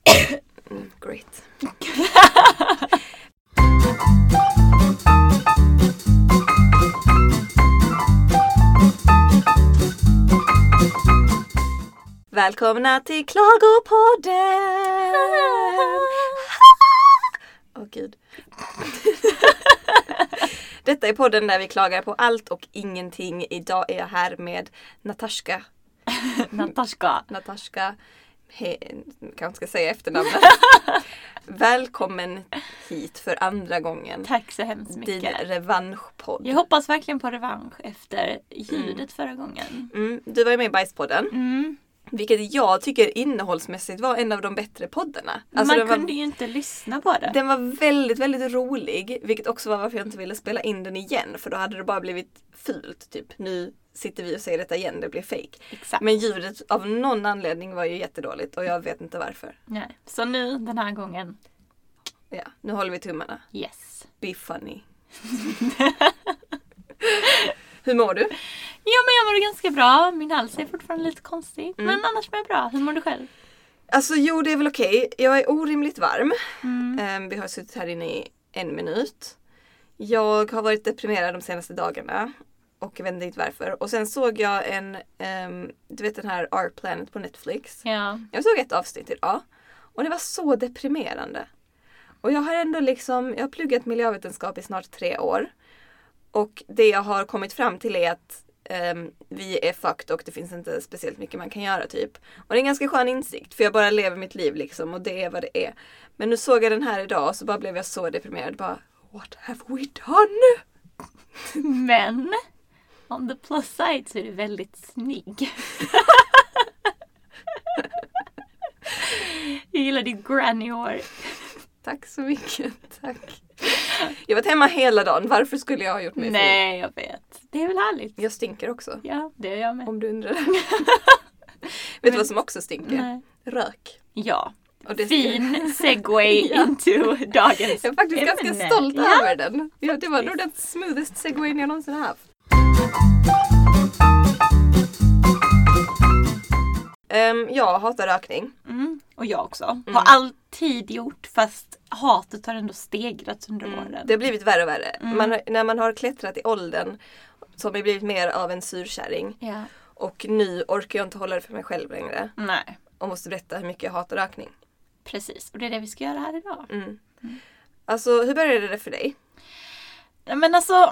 Välkomna till Klagopodden! Åh gud. Detta är podden där vi klagar på allt och ingenting. Idag är jag här med Natasha. Natasha. Natasha. He, kanske ska säga efternamnet. Välkommen hit för andra gången. Tack så hemskt Din mycket. revanschpodd. Jag hoppas verkligen på revansch efter ljudet förra gången. Mm, du var ju med i Bajspodden. Mm. Vilket jag tycker innehållsmässigt var en av de bättre poddarna. Alltså, Man den, kunde var, ju inte lyssna på det. den var väldigt, väldigt rolig. Vilket också var varför jag inte ville spela in den igen. För då hade det bara blivit fult. Typ nu sitter vi och säger detta igen, det blir fake. Exakt. Men ljudet av någon anledning var ju jättedåligt och jag vet inte varför. Nej. Så nu den här gången, Ja, nu håller vi tummarna. yes. Be funny. Hur mår du? Jo men jag mår ganska bra. Min hals är fortfarande lite konstig. Mm. Men annars mår jag bra. Hur mår du själv? Alltså jo, det är väl okej. Jag är orimligt varm. Ehm, vi har suttit här inne i en minut. Jag har varit deprimerad de senaste dagarna. Och jag vet inte riktigt varför. Och sen såg jag en, ehm, du vet den här Our Planet på Netflix. Ja. Jag såg ett avsnitt idag. Och det var så deprimerande. Och jag har ändå liksom, jag har pluggat miljövetenskap i snart tre år. Och det jag har kommit fram till är att ehm, vi är fucked och det finns inte speciellt mycket man kan göra typ. Och det är en ganska skön insikt för jag bara lever mitt liv liksom och det är vad det är. Men nu såg jag den här idag och så bara blev jag så deprimerad. Bara, What have we done? Men on the plus side så är du väldigt snygg. jag gillar ditt granny-hår. Tack så mycket. Tack. Jag har varit hemma hela dagen. Varför skulle jag ha gjort mig fin? Nej, jag vet. Det är väl härligt. Jag stinker också. Ja, det är jag med. Om du undrar. Vet du vad som också stinker? Nej. Rök. Ja. Och det Fin segway Ja. into dagens Jag är faktiskt ganska ämne. stolt ja. över den. Ja, det var nog den smoothest segwayen jag någonsin har haft. Ehm, jag hatar rökning. Mm. Och jag också. Har alltid gjort fast hatet har ändå stegrats under åren. Mm. Det har Mm. blivit värre och värre. Man har, när man har klättrat i åldern så har man blivit mer av en surkärring. Ja. Och nu orkar jag inte hålla det för mig själv längre. Nej, Och måste berätta hur mycket jag hatar rökning. Mm. precis. Och det är det vi ska göra här idag. Alltså hur började det för dig? Ja, Men alltså,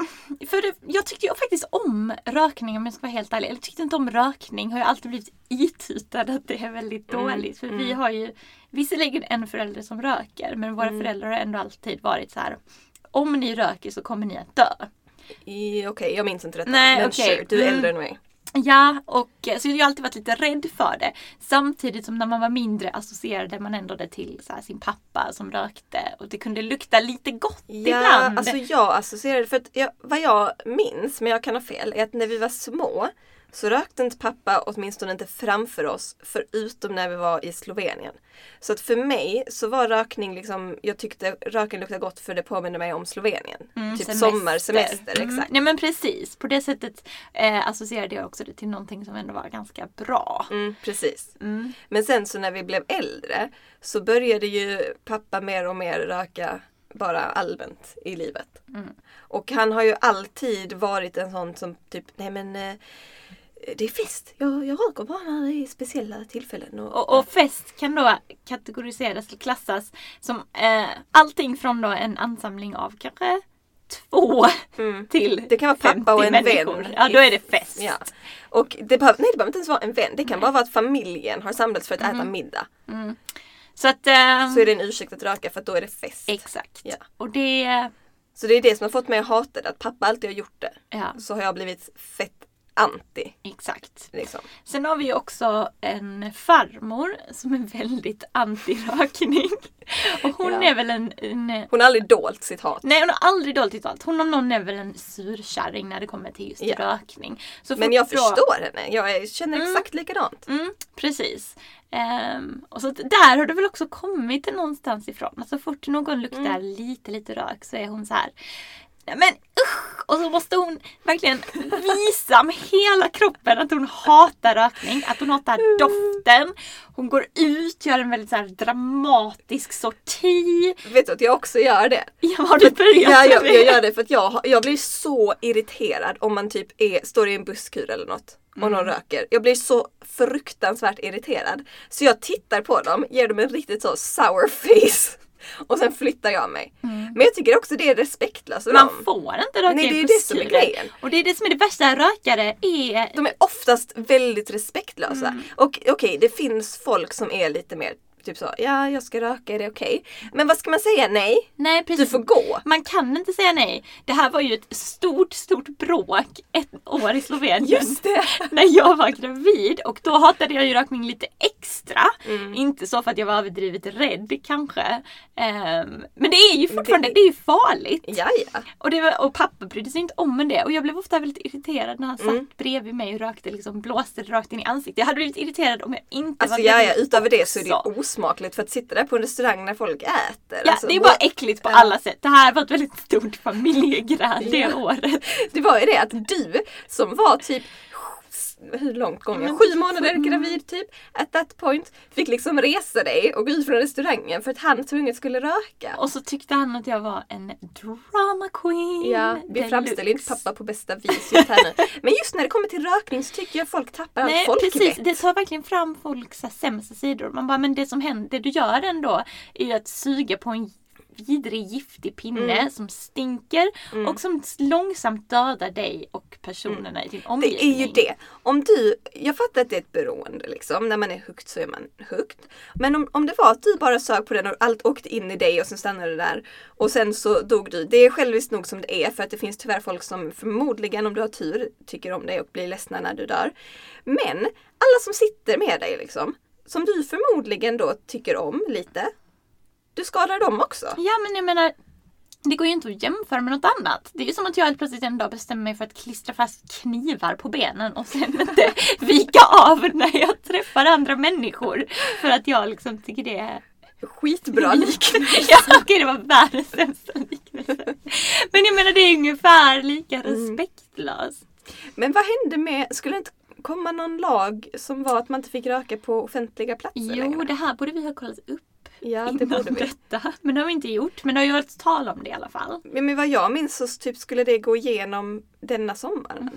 för det, jag tyckte ju faktiskt om rökning om jag ska vara helt ärlig. Eller jag tyckte inte om rökning. Har jag alltid blivit itutad att det är väldigt Mm, dåligt. För vi har ju visserligen en förälder som röker. Men våra Mm. föräldrar har ändå alltid varit så här. Om ni röker så kommer ni att dö. I- Okej, jag minns inte detta. Nej, men okej. sure, du är Mm. äldre än mig. Ja, och eh, så jag har alltid varit lite rädd för det. Samtidigt som när man var mindre associerade man ändå det till så här, sin pappa som rökte. Och det kunde lukta lite gott Ja, ibland. alltså jag associerade, för att jag, vad jag minns, men jag kan ha fel, är att när vi var små så rökte inte pappa åtminstone inte framför oss förutom när vi var i Slovenien. Så att för mig så var rökning liksom, jag tyckte röken luktade gott för det påminner mig om Slovenien. typ sommarsemester, Mm, exakt. Nej men precis, på det sättet eh, associerade jag också det till någonting som ändå var ganska bra. Mm, precis. Mm. Men sen så när vi blev äldre så började ju pappa mer och mer röka bara allmänt i livet. Och han har ju alltid varit en sån som typ, nej men eh, det är fest, jag, jag röker bara när det är speciella tillfällen. Och, Och, och fest kan då kategoriseras eller klassas som eh, allting från då en ansamling av kanske två till Mm. Det kan vara pappa och 50 en människor. vän. Ja då är det fest. Ja. Och det behöver, nej, det behöver inte ens vara en vän, det kan bara vara att familjen har samlats för att äta middag. Så att, eh, Så är det en ursäkt att röka för att då är det fest. exakt. Ja. Och det, Så det är det som har fått mig att hata det, att pappa alltid har gjort det. ja Så har jag blivit fett anti. exakt. Liksom. Sen har vi ju också en farmor som är väldigt anti-rökning. Och hon Ja. är väl en, en Hon har aldrig dolt sitt hat. Nej hon har aldrig dolt sitt allt. Hon om någon är väl en surkärring när det kommer till just Ja. rökning. Så Men fort jag då- förstår henne. Jag är- känner exakt likadant. Mm, precis. Ehm, och så att där har det väl också Alltså Mm. kommit någonstans ifrån. Att så fort någon luktar lite lite rök så är hon så här. Nej, men usch! Och så måste hon verkligen visa med hela kroppen att hon hatar rökning, att hon Mm. hatar doften. Hon går ut, gör en väldigt så här dramatisk sorti. Vet du att jag också gör det? Ja, har du börjat Typ, Ja, jag, med jag gör det för att jag, har- jag blir så irriterad om man typ är, står i en busskur eller något och någon röker. Jag blir så fruktansvärt irriterad. Så jag tittar på dem, ger dem en riktigt så sour face och sen flyttar jag mig. Men jag tycker också det är respektlöst av Man dem. får inte röka Nej, i det är en det som är busskur. grejen. Och det är det som är det värsta, rökare är... De är oftast väldigt respektlösa. Mm. Och okej, det finns folk som är lite mer typ så, ja jag ska röka, är det okej? Men vad ska man säga? Nej, Nej precis. du får gå. Man kan inte säga nej. Det här var ju ett stort, stort bråk ett år i Slovenien. Just det! när jag var gravid och då hatade jag ju rökning lite extra. Mm. Inte så för att jag var överdrivet rädd kanske. Ehm, men det är ju fortfarande, det, Det- är ju farligt. Ja, ja. Och, det var, och pappa brydde sig inte om det och jag blev ofta väldigt irriterad när han satt Mm. bredvid mig och rökte liksom blåste rakt in i ansiktet. Jag hade blivit irriterad om jag inte Alltså var ja, ja, gravid utöver det så är det också. ju osmakligt för att sitta där på en restaurang när folk äter. Ja, alltså, det är bara what? äckligt på Ja. alla sätt. Det här var ett väldigt stort familjegräl det Ja. året. det var ju det att du som var typ hur långt gång Men jag? Sju typ- månader gravid typ, at that point, fick liksom resa dig och gå ut från restaurangen för att han tvunget skulle röka. Och så tyckte han att jag var en drama queen. Ja, vi deluxe. framställer ju inte pappa på bästa vis just här nu. Men just när det kommer till rökning så tycker jag folk tappar allt Nej folkvett. precis, det tar verkligen fram folks så här sämsta sidor. Man bara, men det som händer, det du gör ändå är ju att suga på en vidrig giftig pinne Mm. som stinker och som långsamt dödar dig och personerna i din omgivning. Det är ju det. Om du, jag fattar att det är ett beroende liksom. När man är högt så är man högt. Men om, om det var att du bara sög på den och allt åkte in i dig och sen stannade det där. Och sen så dog du. Det är själviskt nog som det är för att det finns tyvärr folk som förmodligen om du har tur tycker om dig och blir ledsna när du dör. Men alla som sitter med dig liksom. Som du förmodligen då tycker om lite. Du skadar dem också. Ja men jag menar, det går ju inte att jämföra med något annat. Det är ju som att jag helt plötsligt en dag bestämmer mig för att klistra fast knivar på benen och sen inte vika av när jag träffar andra människor. För att jag liksom tycker det är Skitbra liknelse. Ja, okej det var världens sämsta liknelse. Men jag menar det är ungefär lika respektlöst. Men vad hände med, skulle det inte komma någon lag som var att man inte fick röka på offentliga platser Jo, längre? det här borde vi ha kollat upp Ja, det innan borde vi. detta. Men det har vi inte gjort. Men det har ju varit tal om det i alla fall. Men men vad jag minns så typ skulle det gå igenom denna sommaren.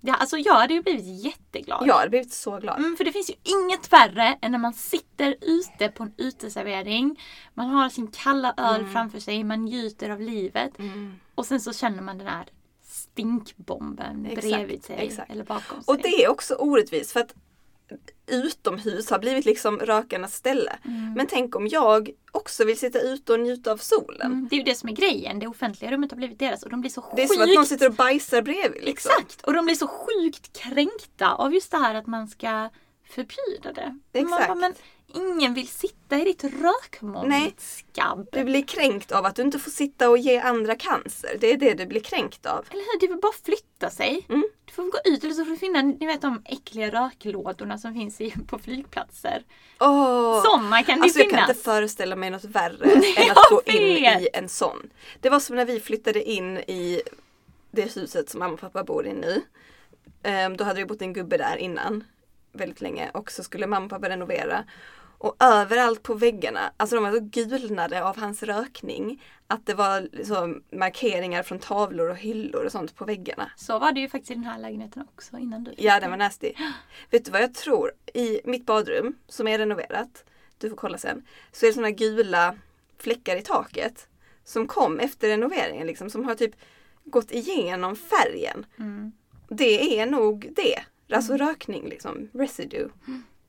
Ja, alltså jag hade ju blivit jätteglad. Jag hade blivit så glad. Mm, för det finns ju inget värre än när man sitter ute på en uteservering. Man har sin kalla öl Mm. framför sig, man njuter av livet. Och sen så känner man den här stinkbomben Exakt, bredvid sig exakt. eller bakom sig. Och det är också orättvist för att utomhus har blivit liksom rökarnas ställe. Mm. Men tänk om jag också vill sitta ute och njuta av solen. Mm, Det är ju det som är grejen. Det offentliga rummet har blivit deras och de blir så Det är sjukt... som att någon sitter och bajsar bredvid. Liksom. Exakt! Och de blir så sjukt kränkta av just det här att man ska förbjuda det. Man Exakt. bara, men ingen vill sitta i ditt rökmoln, Nej. ditt skabb. Du blir kränkt av att du inte får sitta och ge andra cancer. Det är det du blir kränkt av. Eller hur? Det vill bara flytta sig. Mm. Du får gå ut eller så får du finna, ni vet de äckliga röklådorna som finns i, på flygplatser. Åh. Sådana kan det Alltså ju jag finnas. kan inte föreställa mig något värre än att jag gå in vet. i en sån. Det var som när vi flyttade in i det huset som mamma och pappa bor i nu. Ehm, då hade det bott en gubbe där innan. Väldigt länge. Och så skulle mamma och pappa renovera. Och överallt på väggarna, alltså de var så gulnade av hans rökning. Att det var liksom markeringar från tavlor och hyllor och sånt på väggarna. Så var det ju faktiskt i den här lägenheten också innan du Ja, den var nasty. Vet du vad jag tror? I mitt badrum, som är renoverat, du får kolla sen, så är det såna gula fläckar i taket som kom efter renoveringen, liksom, som har typ gått igenom färgen. Mm, Det är nog det. Alltså rökning, liksom. Residue.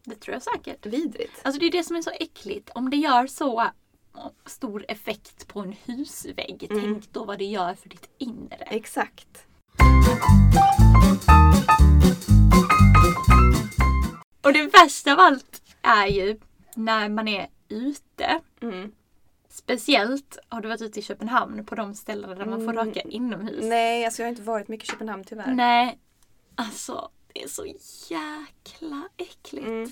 det tror jag säkert. Vidrigt. Alltså det är det som är så äckligt. Om det gör så stor effekt på en husvägg, Mm. tänk då vad det gör för ditt inre. Exakt. Och det värsta av allt är ju när man är ute. Mm. Speciellt har du varit ute i Köpenhamn på de ställen där man får Mm. röka inomhus. Nej, alltså jag har inte varit mycket i Köpenhamn tyvärr. Nej, alltså det är så jäkla äckligt. Mm.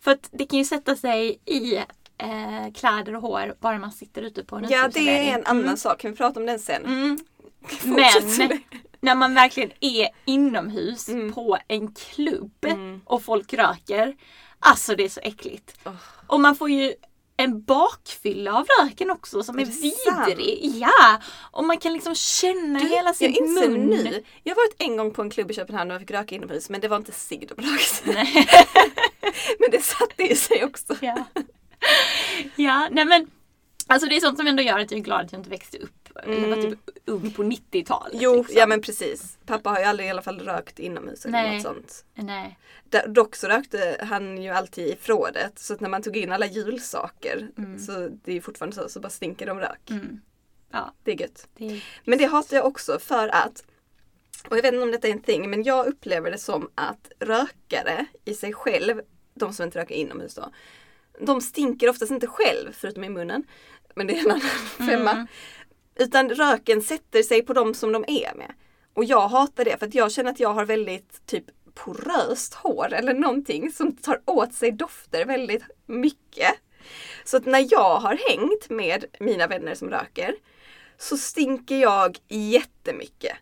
För att det kan ju sätta sig i eh, kläder och hår bara man sitter ute på en Ja, det uteservering. är en annan sak. Kan vi prata om den sen? Mm. Fortsätt. Men när man verkligen är inomhus Mm. på en klubb och folk röker. Alltså det är så äckligt. Åh. Och man får ju en bakfylla av röken också som är, Är det sant? vidrig. Ja! Och man kan liksom känna hela jag sin inser mun. nu. Jag har varit en gång på en klubb i Köpenhamn och jag fick röka inomhus men det var inte cigg de rökte. Nej. Men det satte i sig också. Ja. ja, nej men. Alltså det är sånt som ändå gör att jag är glad att jag inte växte upp. Eller var typ ung på 90-talet. Mm. Jo, liksom. ja men precis. Pappa har ju aldrig i alla fall rökt inomhus eller Nej. något sånt. Nej. Där- Dock så rökte han ju alltid i förrådet så att när man tog in alla julsaker så det är ju fortfarande så, så bara stinker de rök. Mm. Ja, Det är gött. det Men det hatar jag också för att, och jag vet inte om detta är en thing, men jag upplever det som att rökare i sig själv, de som inte röker inomhus då, de stinker oftast inte själv, förutom i munnen. Men det är en annan femma. Utan röken sätter sig på dem som de är med. Och jag hatar det för att jag känner att jag har väldigt typ poröst hår eller någonting som tar åt sig dofter väldigt mycket. Så att när jag har hängt med mina vänner som röker så stinker jag jättemycket.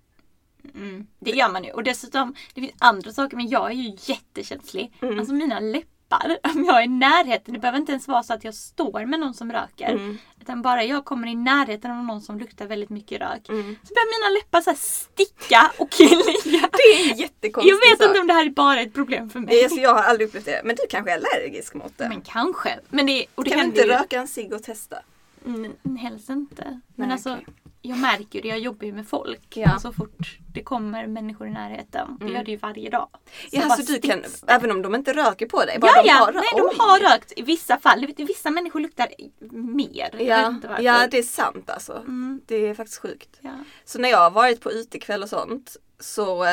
Mm, det gör man ju. Och dessutom, det finns andra saker men jag är ju jättekänslig. Mm. Alltså mina läppar, om jag är i närheten, det behöver inte ens vara så att jag står med någon som röker. Mm. Utan bara jag kommer i närheten av någon som luktar väldigt mycket rök. Mm. Så börjar mina läppar så här sticka och klia. Det är en jättekonstig Jag vet sak. inte om det här är bara ett problem för mig. Nej, alltså jag har aldrig upplevt det. Men du kanske är allergisk mot det. Men kanske. Men det, och det kan du händer inte ju- röka en cigg och testa? Mm, helst inte. Men Nej, alltså, okej. jag märker ju det. Jag jobbar ju med folk. Ja. Mm. Och så fort det kommer människor i närheten. Det gör det ju varje dag. Ja, bara alltså du kan, sticks det. även om de inte röker på dig, bara Ja, de ja. har Nej, de har rökt i vissa fall. Du vet, Vissa människor luktar mer. Jag vet Ja, inte varför. ja, det är sant alltså. Mm. Det är faktiskt sjukt. Ja. Så när jag har varit på utekväll och sånt så eh,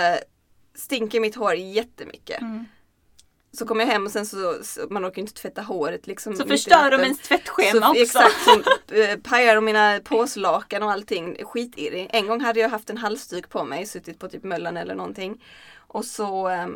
stinker mitt hår jättemycket. Mm. Så kommer jag hem och sen så, så man orkar ju inte tvätta håret liksom. Så mitt i förstör de natten. ens tvättschema också. Exakt, så eh, pajar de mina påslakan och allting. Skitirrig. En gång hade jag haft en halsduk på mig, suttit på typ Möllan eller någonting. Och så eh,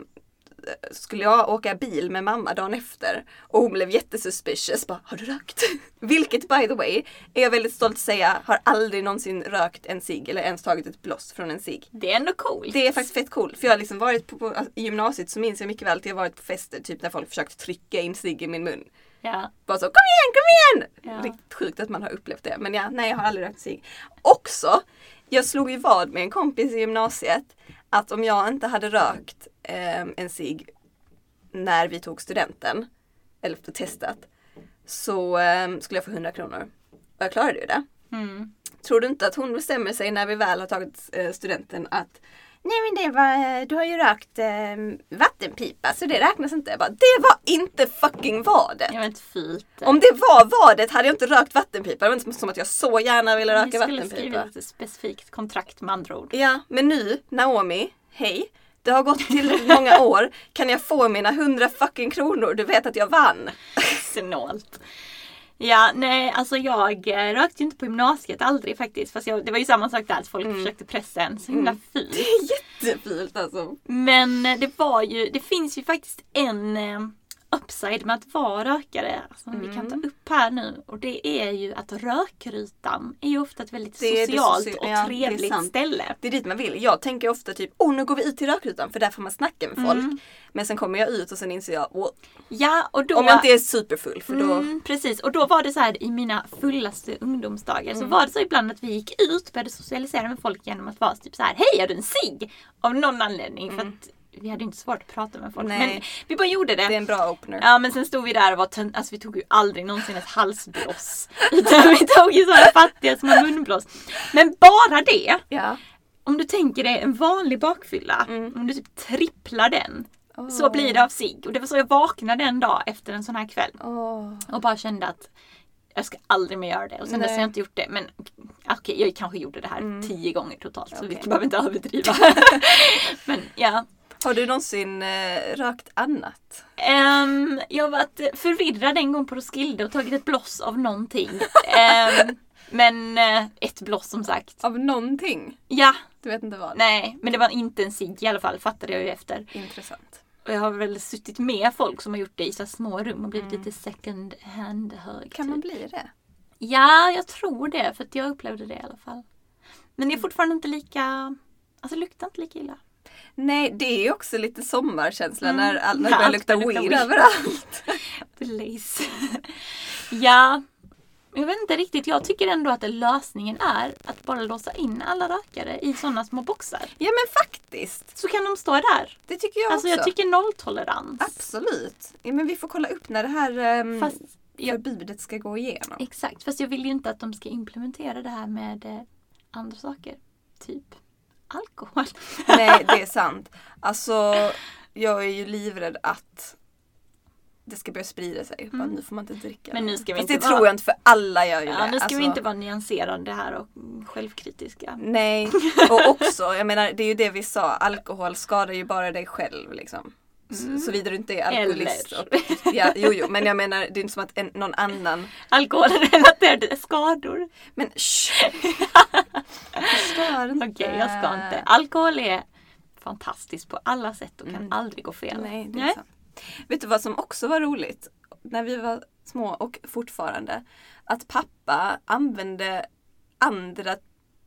skulle jag åka bil med mamma dagen efter och hon blev jättesuspicious. Bara, har du rökt? Vilket by the way, är jag väldigt stolt att säga, har aldrig någonsin rökt en cigg eller ens tagit ett bloss från en cigg. Det är ändå coolt. Det är faktiskt fett coolt. För jag har liksom varit på, på alltså, i gymnasiet så minns jag mycket väl att jag varit på fester typ när folk försökt trycka in cigg i min mun. Ja. Bara så kom igen, kom igen! Ja. Riktigt sjukt att man har upplevt det. Men ja, nej jag har aldrig rökt cigg. Också, jag slog ju vad med en kompis i gymnasiet att om jag inte hade rökt eh, en cigg när vi tog studenten, eller efter testet, så eh, skulle jag få 100 kronor. Och jag klarade ju det. Mm. Tror du inte att hon bestämmer sig när vi väl har tagit eh, studenten att Nej men det var, eh, du har ju rökt eh, vattenpipa så det räknas inte. Jag bara, det var inte fucking vadet! Jag vet inte, fint. Om det var vadet hade jag inte rökt vattenpipa. Det var inte som att jag så gärna ville Vi röka skulle vattenpipa. skriva ett specifikt kontrakt med andra ord. Ja, men nu, Naomi, hej. Det har gått tillräckligt många år. Kan jag få mina hundra fucking kronor? Du vet att jag vann. Snålt. Ja, nej alltså jag eh, rökte ju inte på gymnasiet aldrig faktiskt. Fast jag, det var ju samma sak där, att folk Mm. försökte pressa en. Så himla fint. Det är jättefult alltså. Men eh, det var ju, det finns ju faktiskt en eh, upside med att vara rökare som vi kan ta Mm. upp här nu. Och det är ju att rökrutan är ju ofta ett väldigt Det är det socialt socia- och ja, det är trevligt sant. ställe. Det är dit man vill. Jag tänker ofta typ, oh nu går vi ut till rökrutan för där får man snacka med folk. Men sen kommer jag ut och sen inser jag, "Åh, Ja, och Mm. då... om jag inte är superfull för då... Mm, precis, och då var det så här i mina fullaste ungdomsdagar Mm. så var det så ibland att vi gick ut, började socialisera med folk genom att vara typ så här Hej, har du en cigg? Av någon anledning för att vi hade ju inte svårt att prata med folk. Mm. Nej. Men vi bara gjorde Det är en bra opener. Ja men sen stod vi där och var tönt, alltså vi tog ju aldrig någonsin ett halsbloss. Utan vi tog ju sådana fattiga små munblås. Men bara det, Ja. om du tänker dig en vanlig bakfylla, Mm. om du typ tripplar den. Så blir det av sig. Och det var så jag vaknade en dag efter en sån här kväll. Åh. Och bara kände att jag ska aldrig mer göra det. Och sen dess har Nej. Mm. jag inte gjort det. Men okej, jag kanske gjorde det här tio gånger totalt. Så Okej. vi behöver inte överdriva. men ja. Har du någonsin eh, rökt annat? Ehm, jag har varit förvirrad en gång på Roskilde och tagit ett bloss av någonting. Ehm, men eh, ett bloss som sagt. Av någonting? Ja, Du vet inte vad? nej, men det var inte en cigg i alla fall fattade jag ju efter. Intressant. Och jag har väl suttit med folk som har gjort det i så här små rum och blivit lite second hand hög. Mm. Kan typ. man bli det? Ja, jag tror det för att jag upplevde det i alla fall. Men det är fortfarande inte lika... Alltså det luktar inte lika illa. Nej, det är ju också lite sommarkänsla Mm. när alla När börjar allt lukta börjar lukta weed weed. överallt. Blaze. ja. Jag vet inte riktigt. Jag tycker ändå att lösningen är att bara låsa in alla rökare i sådana små boxar. Ja men faktiskt! Så kan de stå där. Det tycker jag alltså också. jag tycker nolltolerans. Absolut! Ja, men vi får kolla upp när det här ehm, Fast jag, förbudet ska gå igenom. exakt. Fast jag vill ju inte att de ska implementera det här med eh, andra saker. Typ alkohol. Nej, det är sant. Alltså, jag är ju livrädd att det ska börja sprida sig. Bara, Mm. nu får man inte dricka. Men nu ska vi Fast inte det tror vara- jag inte för alla gör ju Ja, det. nu ska Alltså, vi inte vara nyanserande här och mm, självkritiska. Nej, och också, jag menar det är ju det vi sa, alkohol skadar ju bara dig själv liksom. Mm. Såvida du inte är alkoholist. Eller. Och, ja, jo, jo, men jag menar det är inte som att en, någon annan Alkoholrelaterade skador. Men shh! Förstör inte. Okej, jag ska Eh. inte. Alkohol är fantastiskt på alla sätt och kan Mm. aldrig gå fel. Nej, det är sant. Vet du vad som också var roligt? När vi var små och fortfarande. Att pappa använde andra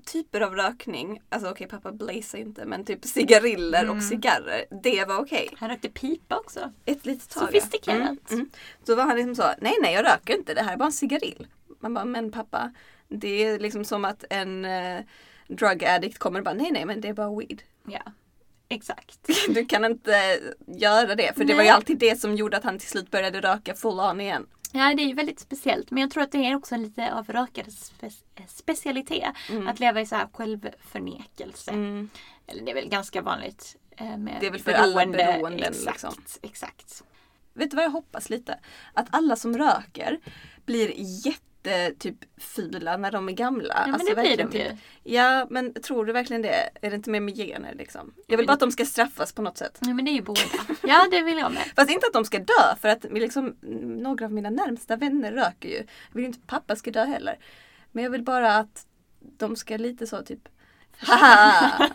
typer av rökning. Alltså okej, pappa blazar ju inte men typ cigariller Mm. och cigarrer. Det var okej. Han rökte pipa också. Ett litet tag. ja. Sofistikerat. Mm, mm. Så var han liksom så, nej nej jag röker inte, det här är bara en cigarill. Man bara, men pappa. Det är liksom som att en eh, drug addict kommer och bara, nej nej men det är bara weed. Ja, exakt. Du kan inte eh, göra det. För det var ju Nej. alltid det som gjorde att han till slut började röka full on igen. Ja, det är ju väldigt speciellt. Men jag tror att det är också en lite av rökares spe- eh, specialitet. Mm. Att leva i så här självförnekelse. Eller det är väl ganska vanligt. eh, Med Det är väl för alla beroenden, Exakt, liksom. exakt. Vet du vad jag hoppas lite? Att alla som röker blir jätte typ fula när de är gamla. Alltså, Ja, men det blir verkligen typ- de ju. Ja men tror du verkligen det? Är det inte mer med gener liksom? Jag vill men- bara att de ska straffas på något sätt. Ja, men det är ju båda. Ja, det vill jag med. Fast inte att de ska dö för att liksom, några av mina närmsta vänner röker ju. Jag vill ju inte att pappa ska dö heller. Men jag vill bara att de ska lite så typ Haha!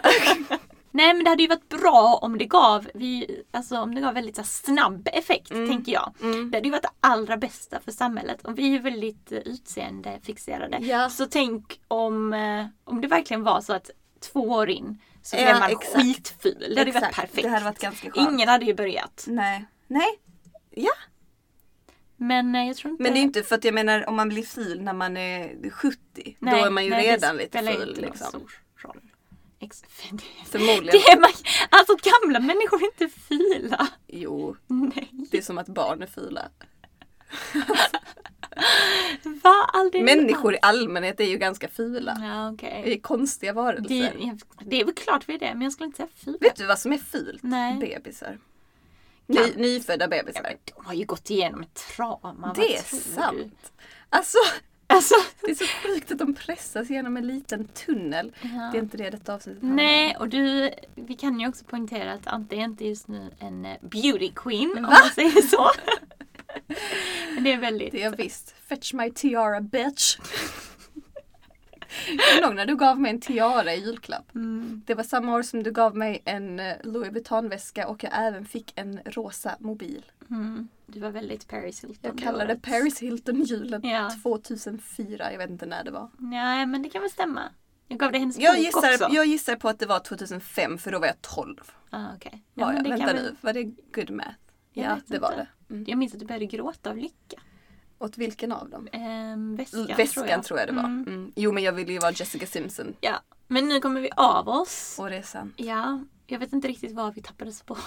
Nej men det hade ju varit bra om det gav, vi, alltså, om det gav väldigt så här, snabb effekt Mm. tänker jag. Det hade ju varit det allra bästa för samhället. Och vi är ju väldigt eh, utseendefixerade. Ja. Så tänk om, eh, om det verkligen var så att två år in så Ja, blev man exakt. skitful. Det hade ju varit Exakt. perfekt. Det hade varit ganska skönt. Ingen hade ju börjat. Nej. Nej. Ja. Men eh, jag tror inte... Men det är ju inte för att jag menar om man blir ful när man är 70. Nej, då är man ju nej, det redan lite spelar ful. inte någon Liksom. stor roll. Ex- Förmodligen. Det är man, alltså gamla människor är inte fula. Jo, Nej. det är som att barn är fula. Va? Aldrig Människor i allmänhet är ju ganska fula. Ja, okej. Vi är konstiga varelser. Det, jag- det är väl klart vi är det, men jag skulle inte säga fula. Vet du vad som är fult? Nej. Bebisar. Ny, nyfödda bebisar. De har ju gått igenom ett trauma. vad Det är tror du? sant. Alltså, Alltså, det är så sjukt att de pressas genom en liten tunnel. Ja. Det är inte det detta avsnittet handlar om. nej, och du, vi kan ju också poängtera att Ante är inte just nu en eh, beauty queen, om man säger så. Men det är väldigt... Det är jag visst. Fetch my tiara bitch. Kommer du ihåg när du gav mig en tiara i julklapp? Mm. Det var samma år som du gav mig en eh, Louis Vuitton-väska och jag även fick en rosa mobil. Mm, du var väldigt Paris Hilton. Jag det kallade det året. Paris Hilton-julen Ja. 2004. Jag vet inte när det var. Nej, men det kan väl stämma. Jag gav dig hennes Jag bok också. gissar, jag gissar på att det var 2005 för då var jag 12. Ah, okay. Var jag. det Vänta kan nu, var det good math? Jag Ja, vet det var inte. det. Mm. Jag minns att du började gråta av lycka. Åt vilken av dem? Ehm, väskan, Väskan, tror jag. det var. Mm. Mm. Jo men jag ville ju vara Jessica Simpson. Ja, men nu kommer vi av oss. Och det är sant. Ja, jag vet inte riktigt var vi tappade spår.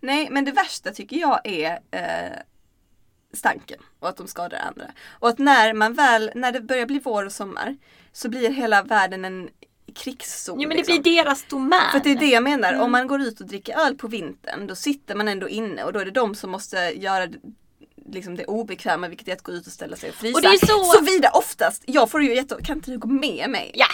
Nej, men det värsta tycker jag är eh, stanken och att de skadar andra. Och att när man väl, när det börjar bli vår och sommar så blir hela världen en krigszon. Jo men det liksom. blir deras domän. För att det är det jag menar, Mm. om man går ut och dricker öl på vintern då sitter man ändå inne och då är det de som måste göra d- liksom det obekväma vilket är att gå ut och ställa sig och frysa. Och det är ju så- Såvida oftast, jag får ju jätte... kan inte du gå med mig? Ja!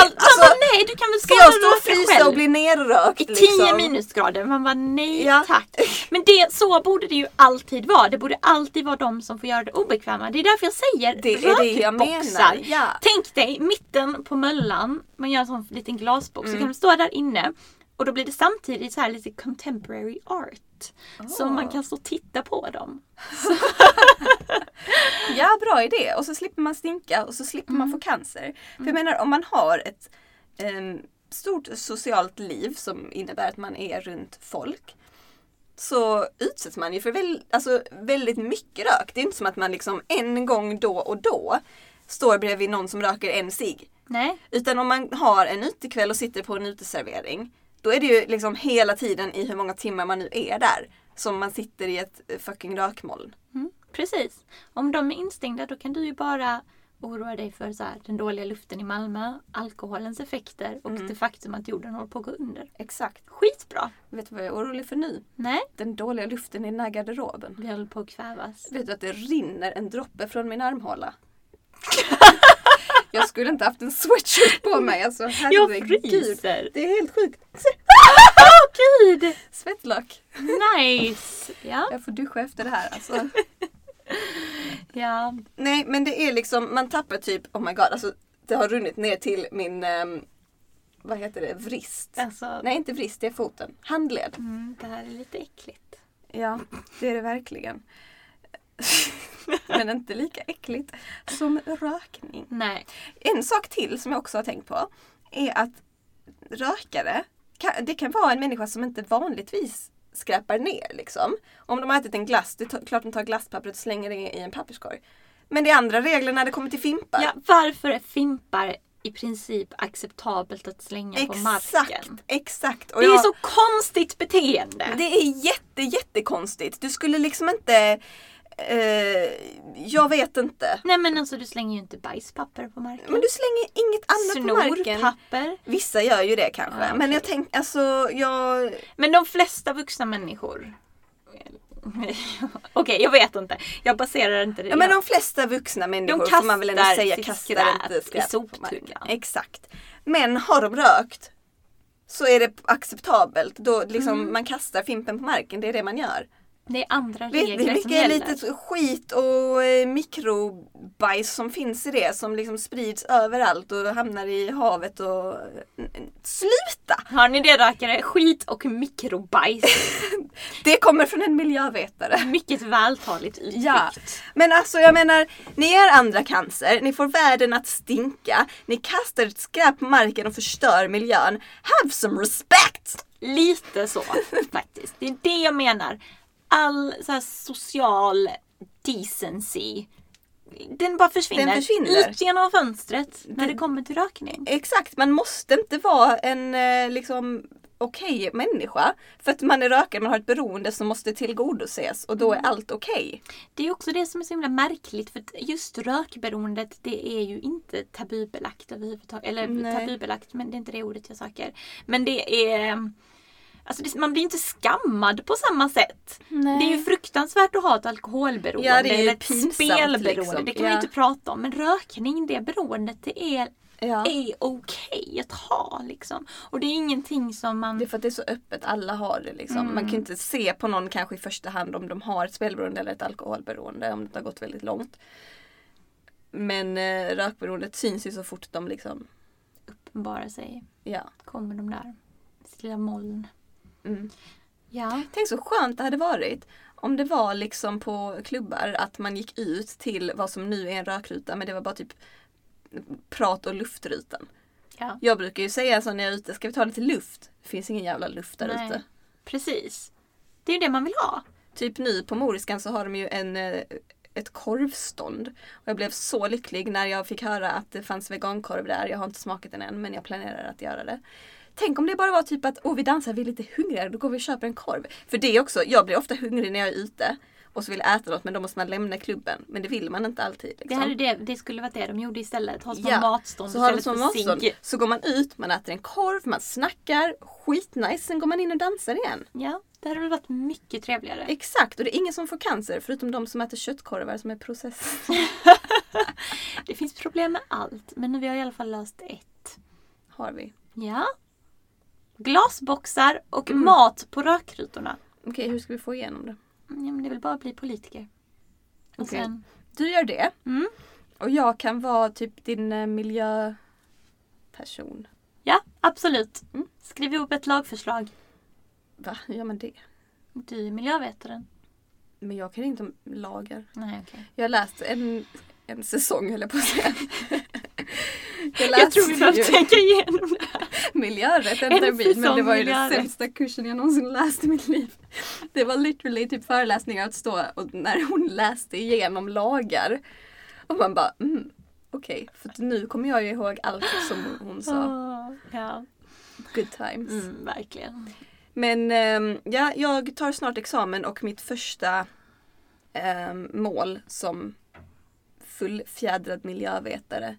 man alltså, bara, nej du kan väl Ska jag skada stå och dig frysa själv. och bli nerrökt? I 10 minusgrader. Man bara nej Liksom. Ja. tack. Men det, så borde det ju alltid vara. Det borde alltid vara de som får göra det obekväma. Det är därför jag säger Det är det jag rökboxar. menar, ja. Mm. Tänk dig mitten på möllan. Man gör en sån liten glasbox. Så kan du stå där inne. Och Och då blir det samtidigt så här lite contemporary art. Ah. Så man kan stå och titta på dem. Ja, bra idé. Och så slipper man stinka och så slipper man få cancer. För jag menar om man har ett em, stort socialt liv som innebär att man är runt folk så utsätts man ju för väl, alltså, väldigt mycket rök. Det är inte som att man liksom en gång då och då står bredvid någon som röker en cigg. Nej. Utan om man har en utekväll och sitter på en uteservering då är det ju liksom hela tiden i hur många timmar man nu är där som man sitter i ett eh, fucking rökmoln. Mm, precis. Om de är instängda då kan du ju bara oroa dig för så här, den dåliga luften i Malmö, alkoholens effekter och Mm. det faktum att jorden håller på att gå under. Exakt. Skitbra! Vet du vad jag är orolig för nu? Nej, Den dåliga luften i den här garderoben. vi håller på att kvävas. Vet du att det rinner en droppe från min armhåla? jag skulle inte haft en sweatshirt på mig. Alltså, Jag herregud. fryser! Det är helt sjukt. Ah, Åh gud! Svettlock. Nice! Ja, Jag får duscha efter det här alltså. ja. Nej men det är liksom, man tappar typ, oh my god, alltså det har runnit ner till min, ehm, vad heter det, vrist. Alltså, Nej inte vrist, det är foten. Handled. mm, det här är lite äckligt. Ja, det är det verkligen. men inte lika äckligt som rökning. Nej. En sak till som jag också har tänkt på är att rökare, kan, det kan vara en människa som inte vanligtvis skräpar ner liksom. Om de har ätit en glass, det är klart de tar glasspappret och slänger det i en papperskorg. Men det är andra regler när det kommer till fimpar. Ja, varför är fimpar i princip acceptabelt att slänga på exakt, marken? exakt. Och Det är jag- så konstigt beteende! Det är jätte, jättekonstigt. Du skulle liksom inte... Eh, jag vet inte. Nej men alltså du slänger ju inte bajspapper på marken. Men du slänger inget annat på marken. Snorpapper. Vissa gör ju det kanske. Ja, Men okej. jag tänker, alltså jag... Men de flesta vuxna människor... Okej, jag vet inte. Jag baserar inte det. Ja, men de flesta vuxna människor får man väl ändå kastar säga sitt kastar skräp inte i skräp på soptunnan. marken. Exakt. Men har de rökt så är det acceptabelt. Då liksom Mm. Man kastar fimpen på marken, det är det man gör. Det är andra Vet ni hur regler som mycket gäller. litet skit och eh, mikrobajs som finns i det som liksom sprids överallt och hamnar i havet och... eh, Sluta! Har ni det rökare? Skit och mikrobajs. Det kommer från en miljövetare. Mycket vältaligt uttryckt. Ja, men alltså jag menar, ni ger andra cancer, ni får världen att stinka, ni kastar ett skräp på marken och förstör miljön. Have some respect! Lite så faktiskt. Det är det jag menar. All så här, social decency. Den bara försvinner. Den försvinner. Ut genom fönstret när det kommer till rökning. Exakt, man måste inte vara en eh, liksom okej människa. För att man är rökare, man har ett beroende som måste tillgodoses och då är allt okej. Det är också det som är så himla märkligt för att just rökberoendet det är ju inte tabubelagt överhuvudtaget. Eller Nej. tabubelagt men det är inte det ordet jag söker. Men det är... Alltså det, man blir inte skammad på samma sätt. Det är ju fruktansvärt att ha ett alkoholberoende Ja, det är ju eller ett pinsamt, spelberoende. liksom. Det kan man Ja. ju inte prata om. Men rökning, det beroendet, det är, Ja. är okej att ha liksom. Och det är ingenting som man... Det är för att det är så öppet, alla har det liksom. Man kan ju inte se på någon kanske i första hand om de har ett spelberoende eller ett alkoholberoende om det inte har gått väldigt långt. Men eh, rökberoendet syns ju så fort de liksom, uppenbarar sig. ja. Kommer de där. Sitt lilla moln. Mm. Ja. Tänk så skönt det hade varit om det var liksom på klubbar att man gick ut till vad som nu är en rökruta men det var bara typ prat och luftrutan. ja. Jag brukar ju säga så när jag är ute, ska vi ta lite luft? Det finns ingen jävla luft där Nej, ute. Precis. Det är ju det man vill ha. Typ nu på Moriskan så har de ju en, eh, ett korvstånd. Och jag blev så lycklig när jag fick höra att det fanns vegankorv där. Jag har inte smakat den än men jag planerar att göra det. Tänk om det bara var typ att åh vi dansar, vi är lite hungriga, då går vi och köper en korv. För det är också, jag blir ofta hungrig när jag är ute och så vill jag äta något men då måste man lämna klubben. Men det vill man inte alltid. Liksom. Det, här är det, det skulle vara det de gjorde istället. Ha små Ja, matstånd så har de istället som för matstånd. cigg. Så går man ut, man äter en korv, man snackar, skitnice, sen går man in och dansar igen. Ja, det hade väl varit mycket trevligare. Exakt, och det är ingen som får cancer förutom de som äter köttkorvar som är process. Det finns problem med allt, men vi har i alla fall löst ett. har vi. Ja. Glasboxar och Mm. mat på rökrutorna. Okej, hur ska vi få igenom det? Mm, Ja, men det är väl bara att bli politiker. Och Okej. sen, Du gör det. Mm. Och jag kan vara typ din eh, miljöperson. Ja, absolut. Mm. Skriv ihop ett lagförslag. Va, hur gör man det? Du är miljövetaren. Men jag kan inte om lagar. Nej, okej. Jag har läst en, en säsong höll jag på att säga. Jag, Jag tror vi behöver ju tänka igenom det. miljörätt en En termin men det säsong var ju den miljörätt. sämsta kursen jag någonsin läst i mitt liv. Det var literally typ föreläsningar att stå och när hon läste igenom lagar och man bara mm, okej för att nu kommer jag ju ihåg allt som hon sa. Åh, Ja, Good times. mm, verkligen. Men ehm, ja, jag tar snart examen och mitt första ehm, mål som fullfjädrad miljövetare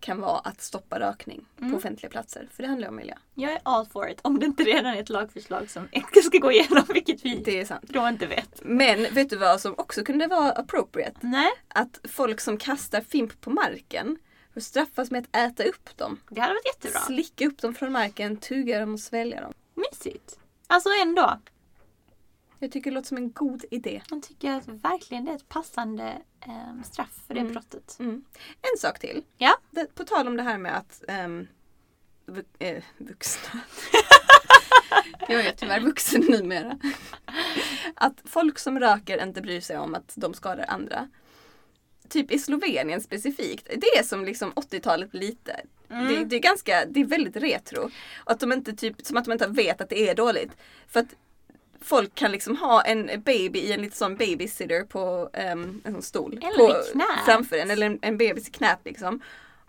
kan vara att stoppa rökning Mm. på offentliga platser. För det handlar ju om miljö. Jag är all for it. Om det inte redan är ett lagförslag som inte ska gå igenom, vilket vi Det är sant. då inte vet. Men vet du vad som också kunde vara appropriate? Nej, Att folk som kastar fimp på marken straffas med att äta upp dem. det hade varit jättebra. Slicka upp dem från marken, tugga dem och svälja dem. Mysigt. Alltså ändå. Jag tycker det låter som en god idé. Jag tycker att verkligen det är ett passande ehm, straff för det brottet. Mm. En sak till. Ja, det, på tal om det här med att ehm, vu- eh, vuxna. jag är tyvärr vuxen numera. Att folk som röker inte bryr sig om att de skadar andra. Typ i Slovenien specifikt. Det är som liksom 80-talet lite. Mm. Mm. Det, det är ganska, det är väldigt retro. Och att de inte typ, som att de inte vet att det är dåligt. För att folk kan liksom ha en baby i en liten sån babysitter på ehm, en sån stol. Eller på, i knät. Framför en, eller en, en bebis i knät liksom.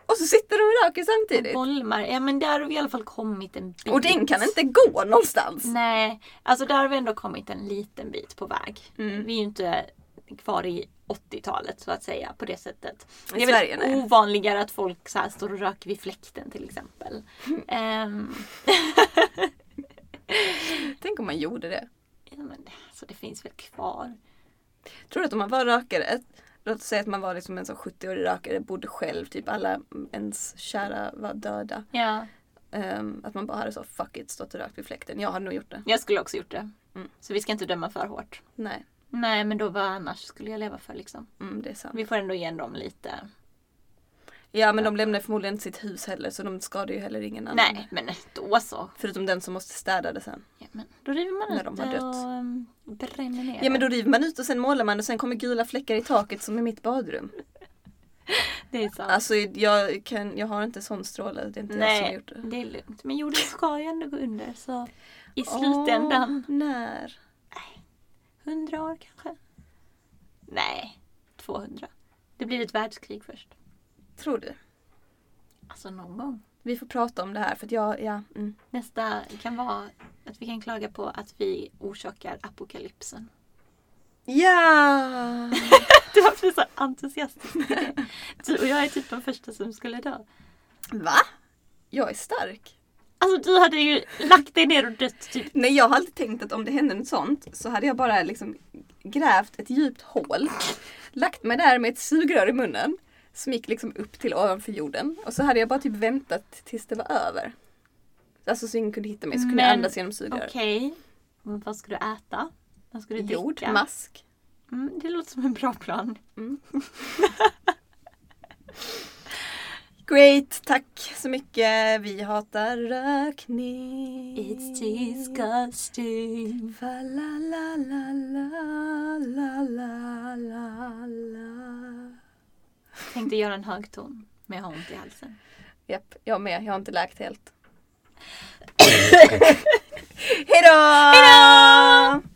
Och så sitter de och röker samtidigt. bolmar. Ja men där har vi i alla fall kommit en bit. Och den kan inte gå någonstans. Nej, alltså där har vi ändå kommit en liten bit på väg. Mm. Vi är ju inte kvar i 80-talet så att säga på det sättet. I Det är Sverige, väl nej. ovanligare att folk så här står och röker vid fläkten till exempel. Mm. Ehm, Tänk om man gjorde det. ja, men, alltså, det finns väl kvar. Tror du att om man var rökare, låt säga att man var liksom en sån 70-årig rökare, bodde själv, typ alla ens kära var döda. Ja. Ehm, att man bara hade så fuck it, stått och rökt vid fläkten. Jag hade nog gjort det. Jag skulle också gjort det. Mm. Så vi ska inte döma för hårt. Nej, Nej men då vad annars skulle jag leva för liksom. mm, det är sant. Vi får ändå ge dem lite. Ja men de lämnar förmodligen inte sitt hus heller så de skadar ju heller ingen annan. Nej men då så. Förutom den som måste städa det sen. Ja, men då river man När ut de har det dött. och um, bränner ner Ja men det. då river man ut och sen målar man och sen kommer gula fläckar i taket som i mitt badrum. Det är sant. Alltså jag, kan, jag har inte sån stråle, det är inte jag som har Nej, gjort det. det är lugnt. Men jorden ska ju ändå gå under så i Åh, slutändan, när? hundra år kanske? Nej, 200. Det blir ett världskrig först. Tror du? Alltså någon gång. Vi får prata om det här för att jag, ja. Mm. Nästa kan vara att vi kan klaga på att vi orsakar apokalypsen. Ja! Du har blivit så entusiastisk i det. Du och jag är typ de första som skulle dö. Va? Jag är stark. Alltså du hade ju lagt dig ner och dött typ. Nej jag har alltid tänkt att om det hände något sånt så hade jag bara liksom grävt ett djupt hål, lagt mig där med ett sugrör i munnen som gick liksom upp till ovanför jorden och så hade jag bara typ väntat tills det var över. Alltså så ingen kunde hitta mig så kunde jag Men, andas genom sugröret. Okej, men vad ska du äta? Vad ska du dricka? Jord, mask. Mm, det låter som en bra plan. Great, tack så mycket. Vi hatar rökning. It's disgusting. Fa la la la la la la la la. Tänkte göra en hög ton, men jag har ont i halsen. Japp, jag med. Jag har inte läkt helt. Hejdå! Hejdå!